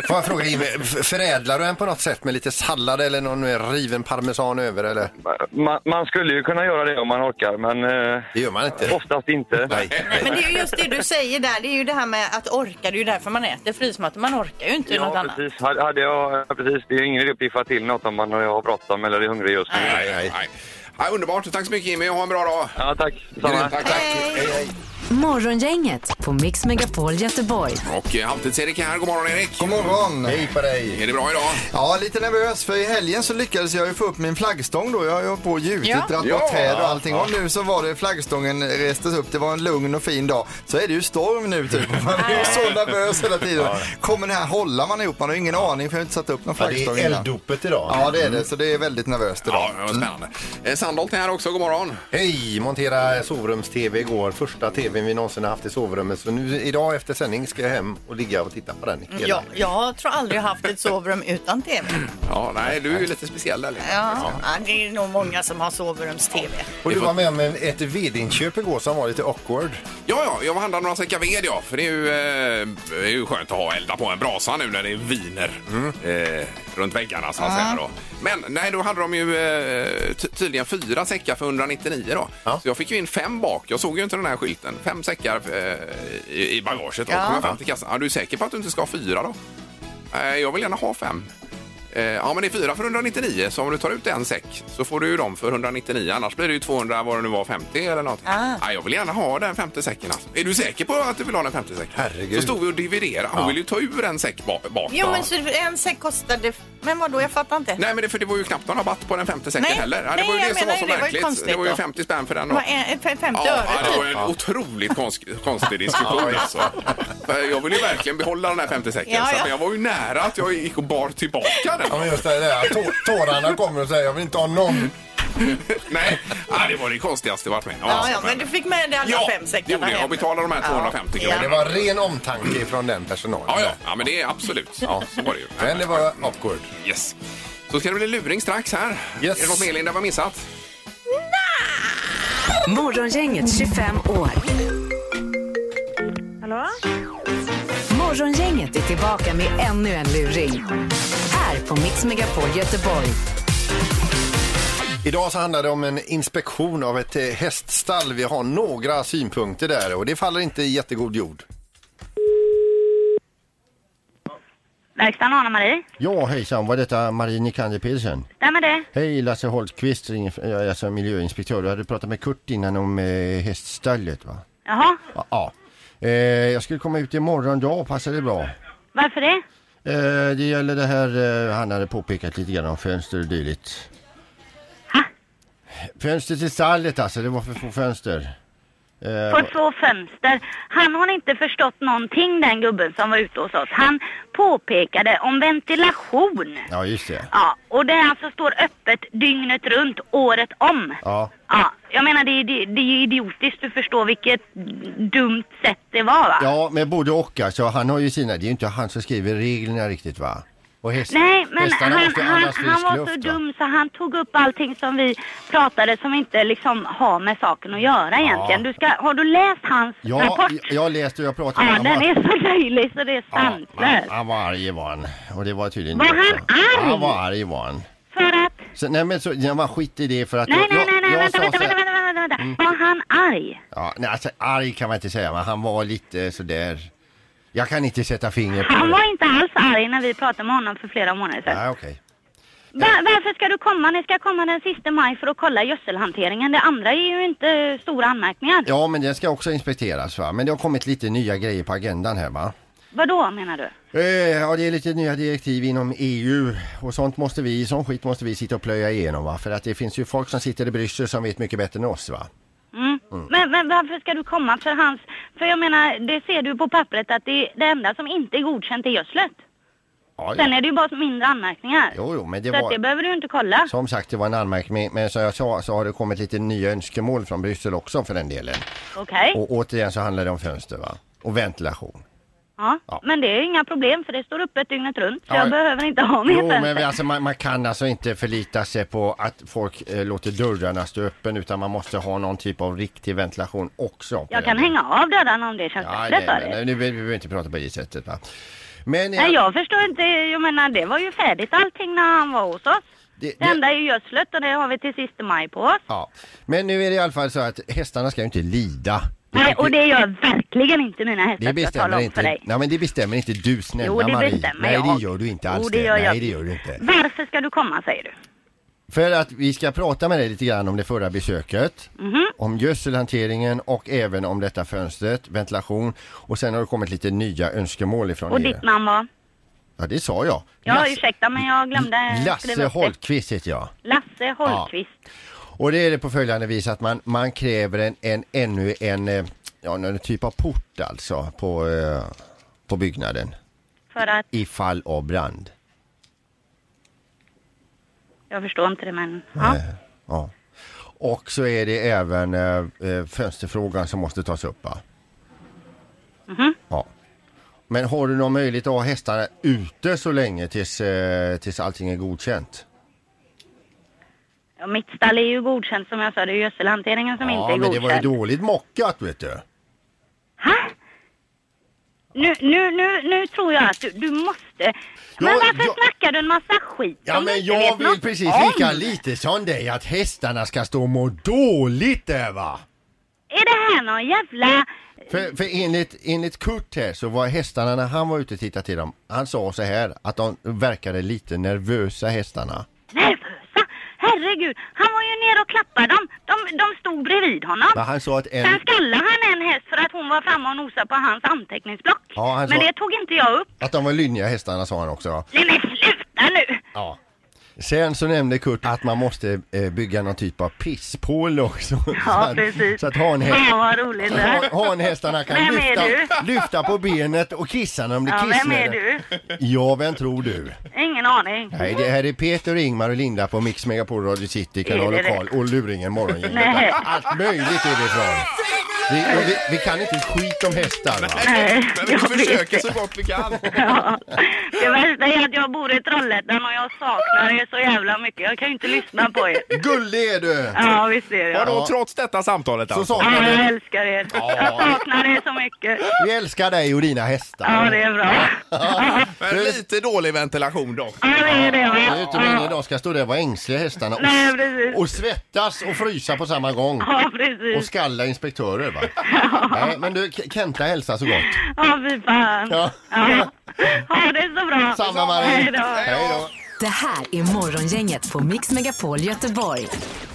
Får jag fråga Jimmy, f- förädlar du den på något sätt med lite sallad eller någon riven parmesan över eller? Man, man skulle ju kunna göra det om man orkar, men... eh, Det gör man inte. Oftast inte. Nej. Men det är ju just det du säger där, det är ju det här med att orka, det är ju därför man äter frysmat. Man orkar ju inte Ja, något annat. precis. Hade hade jag, ja, precis. Det är ju ingen idé att piffa till något om man har bråttom eller är hungrig just nu. Nej, nej. Ja, underbart. Tack så mycket, Jimmy. Ha en bra dag. Ja, tack. Tack, tack. Hej, hej. Morgongänget på Mix Megapol Göteborg. Och eh, Halvtids-Erik är här. God morgon, Erik. God morgon. Hej på dig. Är det bra idag? Ja, lite nervös för i helgen så lyckades jag ju få upp min flaggstång då. Jag har ju hållit på och gjutit, Ja. dragit Ja. bort träd och allting. Ja. Och nu så var det flaggstången restes upp. Det var en lugn och fin dag. Så är det ju storm nu typ. Man är ju så nervös hela tiden. Kommer det här hålla man ihop? Man har ju ingen aning för jag har inte satt upp någon Ja, det är flaggstång innan. elddopet idag. Ja, det är det. Så det är väldigt nervöst idag. Ja, det var spännande. Eh, Sandholt är här också. God morgon. Hej! Montera sovrums-tv igår. Första tvn vi någonsin har haft i sovrummet. Så nu idag efter sändning ska jag hem och ligga och titta på den. hela Ja, jag tror aldrig jag haft ett sovrum utan tv. Ja, nej, du är ju lite speciell där. Linda. Ja, ja, det är nog många som har sovrums-tv. Och du var med om en- ett vedinköp igår som var lite awkward. Ja, ja, jag handlade några säckar ved, ja. För det är ju, eh, det är ju skönt att ha elda på en brasa nu när det är viner eh, runt väggarna, så att Mm. Ja. säga. Då. Men nej, då hade de ju eh, ty- tydligen fyra säckar för 199 då. Så jag fick ju in fem bak. Jag såg ju inte den här skylten. Fem säckar eh, i, i bagaget. Då Ja. kom jag fram till kassan. Ja, du är säker på att du inte ska ha fyra då? Eh, jag vill gärna ha fem. Eh, Ja, men det är fyra för 199, så om du tar ut en säck så får du ju dem för 199. Annars blir det ju 200, vad det nu var, 50 eller något. Ah. Ja, jag vill gärna ha den femte säcken. Alltså. Är du säker på att du vill ha den femte säcken? Herregud. Så stod vi och dividerade. Hon ville ju ta ur en säck bak. bak Jo, då. men så en säck kostade... Men vadå, jag fattar inte. Nej, men det, för det var ju knappt någon rabatt på den femte säcken Nej, heller. det nej, var ju jag det som menar var så ju det. Det var ju märkligt. konstigt det var ju då. 50 spänn för den. Det då. var en, f- 50 ja, öre det var typ. en otroligt konst, konstig diskussion. alltså. För jag ville ju verkligen behålla den här femte säcken. Ja, Så att ja. jag var ju nära att jag gick och bar tillbaka den. Ja, men just det där. Tå- Tårarna kommer och säger jag vill inte ha någon. Nej, ah, det var det konstigaste jag varit med om. Ja, Alltså, ja, men du fick med dig alla fem det säckarna gjorde jag. hem. Jag betalade de här 250 Ja, kronorna. det var ren omtanke från den personalen. Ja, ja. ja, men det är absolut. Ja, så var det ju. Men det var awkward. Yes. Så ska det bli luring strax här. Yes. Är det något mer Linda vi har missat? Morgongänget 25 år. Hallå? Morgongänget är tillbaka med ännu en luring. Här på Mix Megapol Göteborg. Idag så handlar det om en inspektion av ett eh, häststall. Vi har några synpunkter där och det faller inte i jättegod jord. Verkstaden Anna-Marie. Ja, hejsan. Var detta Marie Nikander Pedersen? Stämmer det? Hej, Lasse Holtqvist, ring- jag är alltså miljöinspektör. Du hade pratat med Kurt innan om eh, häststallet, va? Jaha, Ja. ja. Eh, jag skulle komma ut imorgon dag, passar det bra? varför det? Eh, det gäller det här, eh, han hade påpekat lite grann om fönster och dylikt. Fönster till stallet alltså, det var för få fönster. Eh, På två fönster. Han har inte förstått någonting den gubben som var ute hos oss. Han påpekade om ventilation. ja, just det. Ja, och det alltså står öppet dygnet runt, året om. Ja. Ja, jag menar det är, det, det är ju idiotiskt, du förstår vilket dumt sätt det var va? Ja, men både och alltså. Han har ju sina, det är ju inte han som skriver reglerna riktigt va? Och häst, Nej, men han, hästarna han, måste han, andas frisk var luft, så va? dum så han tog upp allting som vi pratade som inte liksom har med saken att göra egentligen. Du ska, har du läst hans Ja, rapport? jag- jag läste och jag pratade Ja, med den honom. är så löjlig så det är Han, sanslöst. han var arg var han. Och det var tydligen Var det han också. arg? Han var arg var han. För att? Så, nej men så, ja, man skit i det för att... Nej, jag, nej, nej, nej, jag, vänta, sa vänta, så här- Mm. vänta, vänta, vänta, vänta. Var han arg? Ja, nej, alltså arg kan man inte säga men han var lite sådär... Jag kan inte sätta finger på Han det. var inte alls arg när vi pratade med honom för flera månader sedan. Nej, Ah, okej. Va, varför ska du komma? Ni ska komma den sista maj för att kolla gödselhanteringen. Det andra är ju inte stora anmärkningar. Ja, men den ska också inspekteras va. Men det har kommit lite nya grejer på agendan här va. Vadå menar du? Eh, Ja, det är lite nya direktiv inom EU och sånt måste vi, sån skit måste vi sitta och plöja igenom va. För att det finns ju folk som sitter i Bryssel som vet mycket bättre än oss va. Mm. Mm. Men, men varför ska du komma för hans... För jag menar, det ser du på pappret att det, det enda som inte är godkänt är gödslet. Ja, Sen är det ju bara mindre anmärkningar. Jo, jo, men det så att var... det behöver du inte kolla. Som sagt, det var en anmärkning, men som jag sa så har det kommit lite nya önskemål från Bryssel också för den delen. Okej. Och återigen så handlar det om fönster va? Och ventilation. Ja. Ja. Men det är inga problem för det står öppet dygnet runt. Så Ja. jag behöver inte ha mer Jo, men vi, fönster. alltså, man, man kan alltså inte förlita sig på att folk eh, låter dörrarna stå öppen utan man måste ha någon typ av riktig ventilation också. på Jag den kan hänga av dörrarna om det känns Nej, bättre för nej, dig. nej, nu behöver vi behöver inte prata på det sättet va. Men Nej, jag, jag förstår inte. Jag menar, det var ju färdigt allting när han var hos oss. det, Det det, enda är ju gödslet och det har vi till sista maj på oss. ja. Men nu är det i alla fall så att hästarna ska ju inte lida. Nej, och det gör verkligen inte mina hästar, Det ska jag bestämmer, tala om för inte, dig. nej, men det bestämmer inte du snälla Jo, det Marie. bestämmer nej jag. det gör du inte Jo, alls det gör jag. Nej det gör du inte. Varför ska du komma, säger du? För att vi ska prata med dig lite grann om det förra besöket. Mhm. Om gödselhanteringen och även om detta fönstret, ventilation. Och sen har det kommit lite nya önskemål ifrån Och er. ditt namn var? Ja det sa jag. Ja, Lasse, ursäkta, men jag glömde skriva Lasse upp det. Holtqvist heter jag. Lasse Holmqvist. Och det är det på följande vis att man, man kräver en, en ännu en, eh, ja, någon typ av port alltså på, eh, på byggnaden För att, i fall av brand. jag förstår inte det men, ja. Eh, Ja. Och så är det även eh, eh, fönsterfrågan som måste tas upp va? Mhm. Ja. Men har du någon möjlighet att ha hästarna ute så länge tills, eh, tills allting är godkänt? Ja, mitt stall är ju godkänt som jag sa, det är gödselhanteringen som inte är ja, men det godkänd. var ju dåligt mockat vet du. Nu, nu, nu, nu tror jag att du, du måste... Men varför snackar du en massa skit Ja som du men inte jag vet vill något precis om? lika lite som dig att hästarna ska stå och må dåligt där va? Är det här någon jävla... För, för enligt, enligt Kurt här så var hästarna när han var ute och tittade till dem, han sa så här att de verkade lite nervösa hästarna. Herregud, han var ju nere och klappade dem. De, de stod bredvid honom. Men han sa att en... Sen skallade han en häst för att hon var framme och nosade på hans anteckningsblock. Ja, han Men sa det tog inte jag upp. att de var lynniga hästarna sa han också. va? Nej men sluta nu! Ja. Sen så nämnde Kurt att man måste eh, bygga någon typ av pisspål också. så, att, precis. så att ha en häst... Fan vad roligt det här. ha, ha en hästarna kan Vem är lyfta, du? lyfta på benet och kissa när de blir Ja, vem är kissnödiga. du? Ja, vem tror du? Ingen aning. Nej, det här är Peter, Ingmar och Linda på Mix Megapol Radio City, kanal Är det lokal det? och Luringen Nej. Morgongänget. Allt möjligt är det ifrån. Vi, och vi, vi kan inte ett skit om hästar va? Nej, Men vi jag försöker vet. så gott vi kan. Ja. Det värsta är att jag bor i Trollhättan och jag saknar er så jävla mycket. Jag kan ju inte lyssna på er. Gullig är du! Ja, visst är jag. Vadå, trots detta samtalet Så alltså? saknar Ja, vi- jag älskar er. Jag saknar er så mycket. Vi älskar dig och dina hästar. Ja, det är bra. Men lite dålig ventilation dock. Ja, det är det. Det va? är ju inte meningen de ska stå där och vara ängsliga hästarna och, Nej, precis. och svettas och frysa på samma gång. Ja, Och precis. skalla inspektörer va? Nej, men du K- Kenta hälsa så gott. Ja, fy fan. Ja. Ja. Ha det så bra. Samma, Marie. Hej då. Det här är Morgongänget på Mix Megapol Göteborg.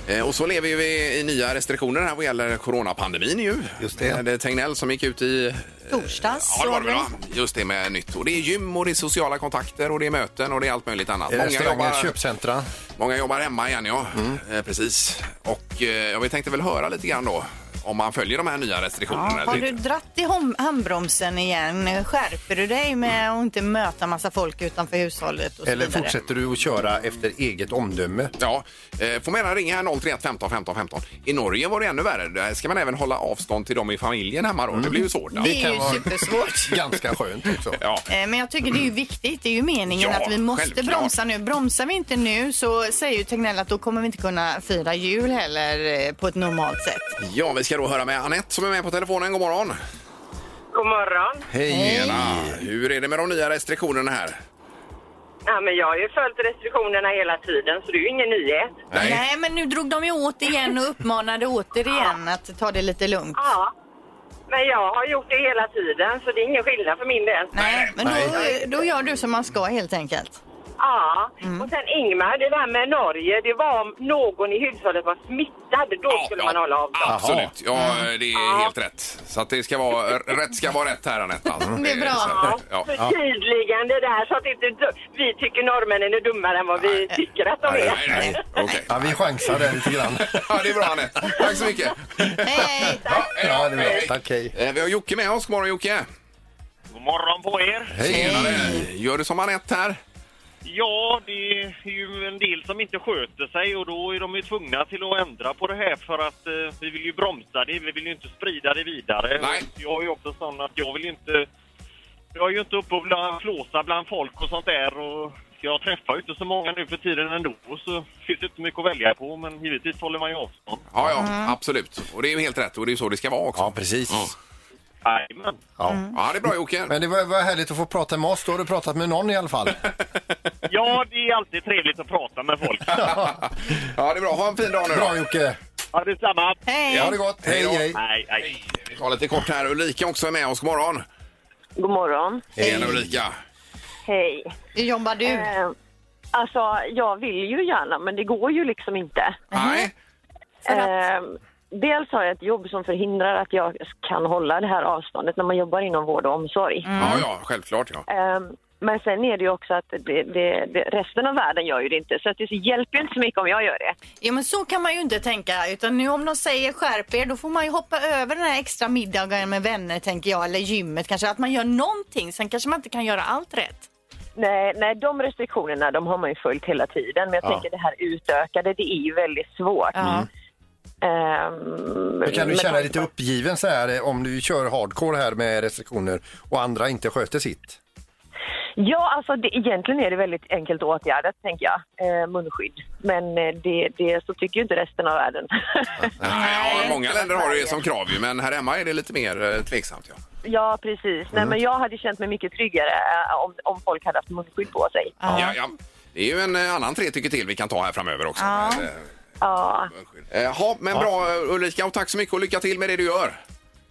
Eh, Och så lever ju vi i nya restriktioner här vad gäller coronapandemin ju. Just det. Det är Tegnell som gick ut i eh, Torsdags. Ja, det var det väl, va? Just det med nytt. Och det är gym och det är sociala kontakter och det är möten och det är allt möjligt annat. Restauranger, köpcentra. många jobbar hemma igen, ja. Eh, precis. Och eh, ja, vi tänkte väl höra lite grann då om man följer de här nya restriktionerna. eller Har du inte. dratt i hom- handbromsen igen? Skärper du dig med att inte möta massa folk utanför hushållet? Och så Eller vidare? fortsätter du att köra efter eget omdöme? Ja, eh, får man gärna ringa här 031 15 15 15. I Norge var det ännu värre. Där ska man även hålla avstånd till dem i familjen hemma då. Det blir ju svårt. Det är ju supersvårt. Ganska skönt också. Ja. Eh, Men jag tycker det är ju viktigt. Det är ju meningen Ja, att vi måste självklart. bromsa nu. Bromsar vi inte nu så säger ju Tegnell att då kommer vi inte kunna fira jul heller eh, på ett normalt sätt. ja, vi ska då höra med Anette som är med på telefonen. God morgon! God morgon. Hej! Hur är det med de nya restriktionerna här? Ja, men jag har ju följt restriktionerna hela tiden, så det är ju ingen nyhet. Nej. men nu drog de ju åt igen och uppmanade återigen att ta det lite lugnt. Ja, men jag har gjort det hela tiden, så det är ingen skillnad för min del. Nej, Men då, då gör du som man ska helt enkelt. Ja, Mm. och sen Ingmar, det där med Norge, det var om någon i hushållet var smittad, då skulle man hålla avstånd. Absolut, Mm. ja det är helt rätt. Så att det ska vara, rätt ska vara rätt här Anette. Alltså. Det är bra. så- Ja. Förtydligande där, så att inte du- vi tycker norrmännen är dummare än vad vi tycker att de är. Nej, nej, nej. Okej. Ja, vi chansar där lite grann. Ja, det är bra Anette. Tack så mycket. Ja, det är bra. Tack, hej. Eh, Vi har Jocke med oss. God morgon Jocke! God morgon på er! Tjenare! Gör du som Anette här? Ja, det är ju en del som inte sköter sig och då är de ju tvungna till att ändra på det här för att eh, vi vill ju bromsa det, vi vill ju inte sprida det vidare. Nej. Jag är ju också sån att jag vill ju inte... Jag är ju inte uppe och bland, flåsa bland folk och sånt där och jag träffar ju inte så många nu för tiden ändå så det finns inte mycket att välja på men givetvis håller man ju avstånd. Ja, ja, absolut. Och det är ju helt rätt och det är ju så det ska vara också. Ja, precis. Jajamän. Ja. ja, det är bra Jocke. Men det var, var härligt att få prata med oss. Då har du pratat med någon i alla fall. Ja, det är alltid trevligt att prata med folk. Ja, det är bra. Ha en fin dag nu då. Bra Jocke! Ha detsamma! Hej! Ja, det är gott. Hej, då. hej. Hej, hej. Vi tar lite kort här. Ulrika också är med oss. God morgon! God morgon. Tjena Ulrika! Hej. Hur jobbar du? Eh, alltså, jag vill ju gärna, men det går ju liksom inte. Nej. Eh, dels har jag ett jobb som förhindrar att jag kan hålla det här avståndet när man jobbar inom vård och omsorg. Ja, ja, självklart ja. Eh, men sen är det ju också att det, det, det, resten av världen gör ju det inte, så att det hjälper ju inte så mycket om jag gör det. Ja men så kan man ju inte tänka utan nu om de säger skärp er då får man ju hoppa över den här extra middagen med vänner tänker jag eller gymmet kanske att man gör någonting sen kanske man inte kan göra allt rätt. Nej, nej, de restriktionerna de har man ju följt hela tiden. Men jag Ja. tänker det här utökade, det är ju väldigt svårt. Ehm, Men kan du med känna dig tanke lite uppgiven så här eh, om du kör hardcore här med restriktioner och andra inte sköter sitt? Ja, alltså det, egentligen är det väldigt enkelt åtgärdat, tänker jag. Eh, munskydd. Men eh, det, det, så tycker ju inte resten av världen. Ja, många länder har det som krav ju, men här hemma är det lite mer eh, tveksamt. Ja. ja, precis. Nej, Mm. men jag hade känt mig mycket tryggare eh, om, om folk hade haft munskydd på sig. Ja, ja. Det är ju en eh, annan tre tycker till vi kan ta här framöver också. Ja. Men, eh, Ja, eh, Jaha, men bra eh, Ulrika och tack så mycket och lycka till med det du gör.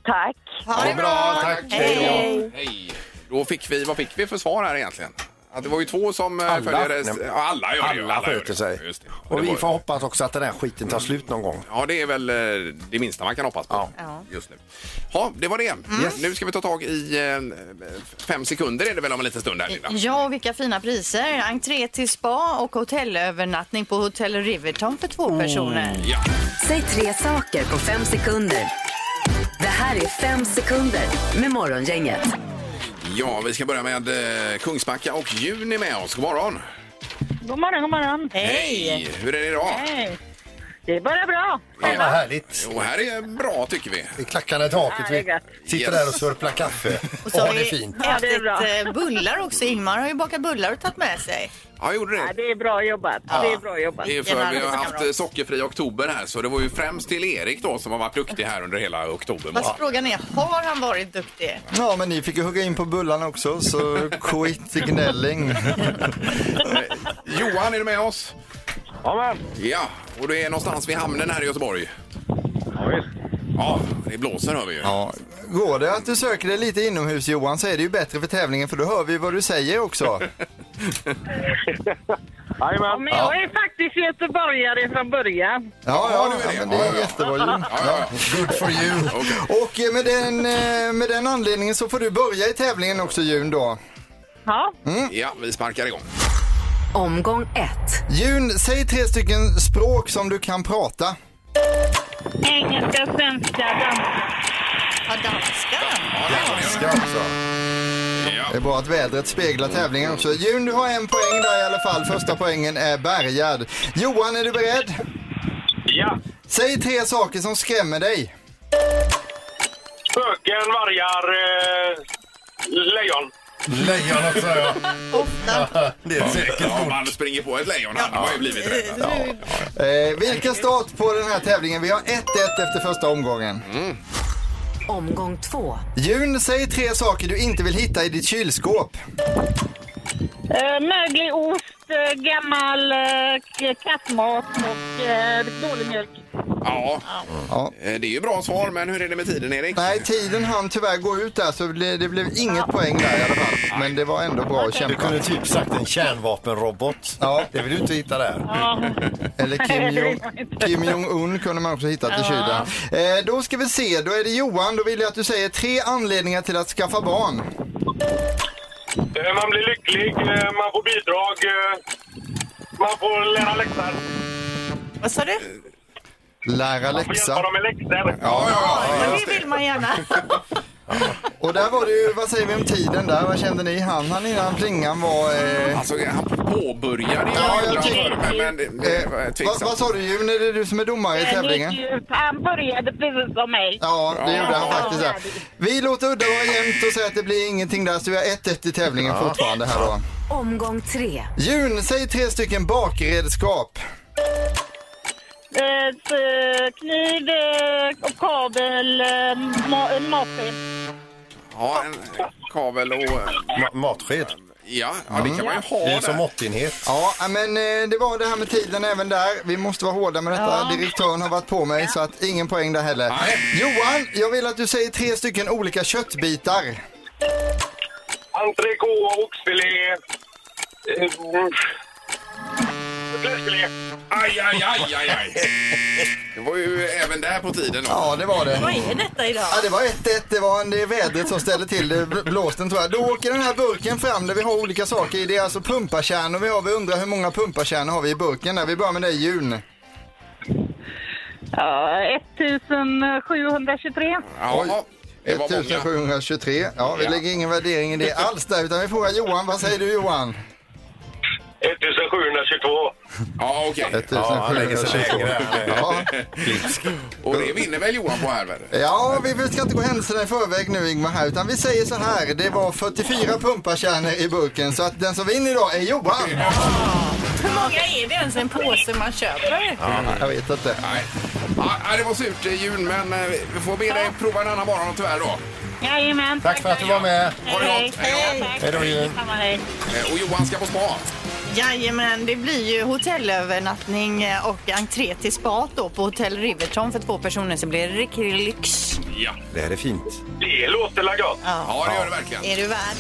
tack. Ha det bra, tack. Hej. Hej. Då fick vi, vad fick vi för svar här egentligen? Att det var ju två som alla, följer... Nej, men- Ja, alla gör det ju. Alla gör det. sköter sig. Just det. Och det vi var- får hoppas också att den här skiten tar slut någon gång. Ja, det är väl eh, det minsta man kan hoppas på just nu. Ja, det var det. Nu ska vi ta tag i eh, fem sekunder är det väl om en liten stund här Linda? Ja, och vilka fina priser. Entré till spa och hotellövernattning på Hotel Riverton för två personer. Ja. Säg tre saker på fem sekunder. Det här är fem sekunder med Morgongänget. Ja, vi ska börja med eh, Kungsbacka och Juni med oss. God morgon! God morgon, god morgon. Hej! Hur är det idag? Hej. Det är bara bra. Ja, vad härligt. Jo, här är bra tycker vi. Vi klackarna i taket. Ja, det är Vi gött. sitter Yes. där och sörplar kaffe. Och så Ja, har det är vi fint. ätit eh, bullar också. Ingmar har ju bakat bullar och tagit med sig. Ja, gjorde det. det är bra jobbat. Det är bra jobbat. Det är för vi har haft eh, sockerfri oktober här så det var ju främst till Erik då som har varit duktig här under hela oktober Fast månad. frågan är, har han varit duktig? Ja, men ni fick ju hugga in på bullarna också, så quit gnälling. Johan, är du med oss? Ja, Ja, och du är någonstans vid hamnen här i Göteborg. Ja, det blåser hör vi ju. Ja. Går det att du söker dig lite inomhus Johan så är det ju bättre för tävlingen för då hör vi vad du säger också. Ja, men jag är faktiskt göteborgare från början. Ja, ja, ja, men det är jättebra Jon. Good for you. Och eh, med den, eh, med den anledningen så får du börja i tävlingen också Jun då. Ja. ja, vi sparkar igång. Omgång ett. Jun, säg tre stycken språk som du kan prata. Engelska, svenska, danska. Ja, danska. Danska också. Det är bra att vädret speglar tävlingen också. Jun, du har en poäng där i alla fall. Första poängen är bärgad. Johan, är du beredd? Ja. Säg tre saker som skrämmer dig. Spöken, vargar, eh, lejon. Lejon också, ja. Det är säkert ja, man springer på ett lejon hade man ju blivit rädd. Eh, vilken start på den här tävlingen? Vi har 1-1 efter första omgången. Omgång två. Jun, säg tre saker du inte vill hitta i ditt kylskåp. Eh, möglig ost, eh, gammal eh, k- kattmat och eh, dålig mjölk. Ja. Ja. Eh, Det är ju bra svar, men hur är det med tiden Erik? Nej, tiden hann tyvärr gå ut där så det blev- det blev inget poäng där i alla fall. Men det var ändå bra Du kämpat. kunde typ sagt en kärnvapenrobot. Ja. Det vill du inte hitta där. Eh, Eller Kim Jong- Kim Jong-Un kunde man också hitta till kylan. Eh, då ska vi se, då är det Johan. Då vill jag att du säger tre anledningar till att skaffa barn. Eh, Man blir lycklig, eh, man får bidrag, eh, man får lära läxor. Vad sa du? Lära Man får hjälpa läxa. dem med läxor. Men det vill man gärna. Och där var det ju, vad säger vi om tiden där? Vad kände ni? Han, han innan plingan var... Eh... Alltså, han påbörjade ju Ja, jag ibland tycker- förr, men, men det, det Eh, var vad, tveksamt. vad sa du Jun? Är det du som är domare i tävlingen? Han började precis som mig. Ja, det gjorde han faktiskt. Där. Vi låter udda vara jämnt och säger att det blir ingenting där, så vi har 1-1 i tävlingen Ja. fortfarande här då. Omgång tre. Jun, säg tre stycken bakredskap. Eh, t- kniv, eh, och kabel, eh, ma- eh, matsked. Ja, en kavel och... eh, Ma- matsked. Ja, ja, det kan man ju ha Det är där. som måttenhet. Ja, men eh, det var det här med tiden även där. Vi måste vara hårda med detta. Ja. Direktören har varit på mig, så att ingen poäng där heller. Johan, jag vill att du säger tre stycken olika köttbitar. Entrecote, oxfilé, eh, fläskfilé. Aj, aj, aj, aj, aj. Det var ju även där på tiden. Då. Ja, det var det. Vad är detta idag? Ja, det var 1-1. Det var en, det är vädret som ställde till det. Bl- Blåsten tror jag. Då åker den här burken fram där vi har olika saker i. Det är alltså pumpakärnor vi har. Vi undrar hur många pumpakärnor har vi i burken där. Vi börjar med dig Jun. Ja, 1723. Ja, det var många. 1723. Ja, vi Ja. lägger ingen värdering i det alls där utan vi frågar Johan. Vad säger du Johan? Eh, 1722. Ja, okej. Ja, han lägger sig lägre. Klipsk. Och det vinner väl Johan på här? väl? Ja, vi vi ska inte gå händelserna i förväg nu Ingmar här, utan vi säger så här. Det var 44 pumpakärnor i burken, så att den som vinner idag är Johan. Hur många är det ens en påse man köper? jag vet inte. Nej. Ja, nej, det var surt eh, jul, men eh, vi får be dig prova en annan morgon tyvärr då. Jajamän. Tack för att du var med. Ha det gott. Hej då. Hej då, Jim. Detsamma, hej. Eh, Och Johan ska på spa. Jajamän, det blir ju hotellövernattning eh, och entré till spat då på Hotell Riverton för två personer så blir det riktig lyx. Ja. Det här är fint. Det låter la gott. Ja, det gör det verkligen. Är du värd?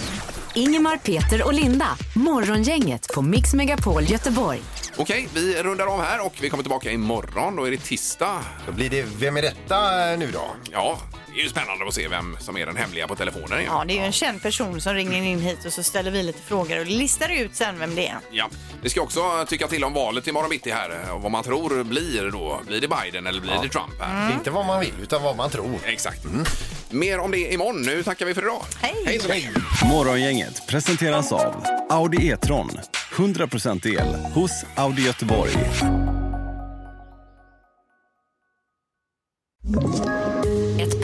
Ingemar, Peter och Linda. Morgongänget på Mix Megapol Göteborg. Okej, vi rundar av här och vi kommer tillbaka imorgon. Då är det tisdag. Då blir det Vem är detta eh, nu då? Ja, det är ju spännande att se vem som är den hemliga på telefonen. Ja, det är ju en känd person som ringer in hit och så ställer vi lite frågor och listar ut sen vem det är. Ja, vi ska också tycka till om valet imorgon bitti här eh, och vad man tror blir då. Blir det Biden eller blir det Trump? Här? Mm. Inte vad man vill, utan vad man tror. Exakt. Mm. Mer om det imorgon. Nu tackar vi för idag. Hej! så länge. Morgongänget presenteras av Audi E-tron. 100% el hos Audi Göteborg. Ett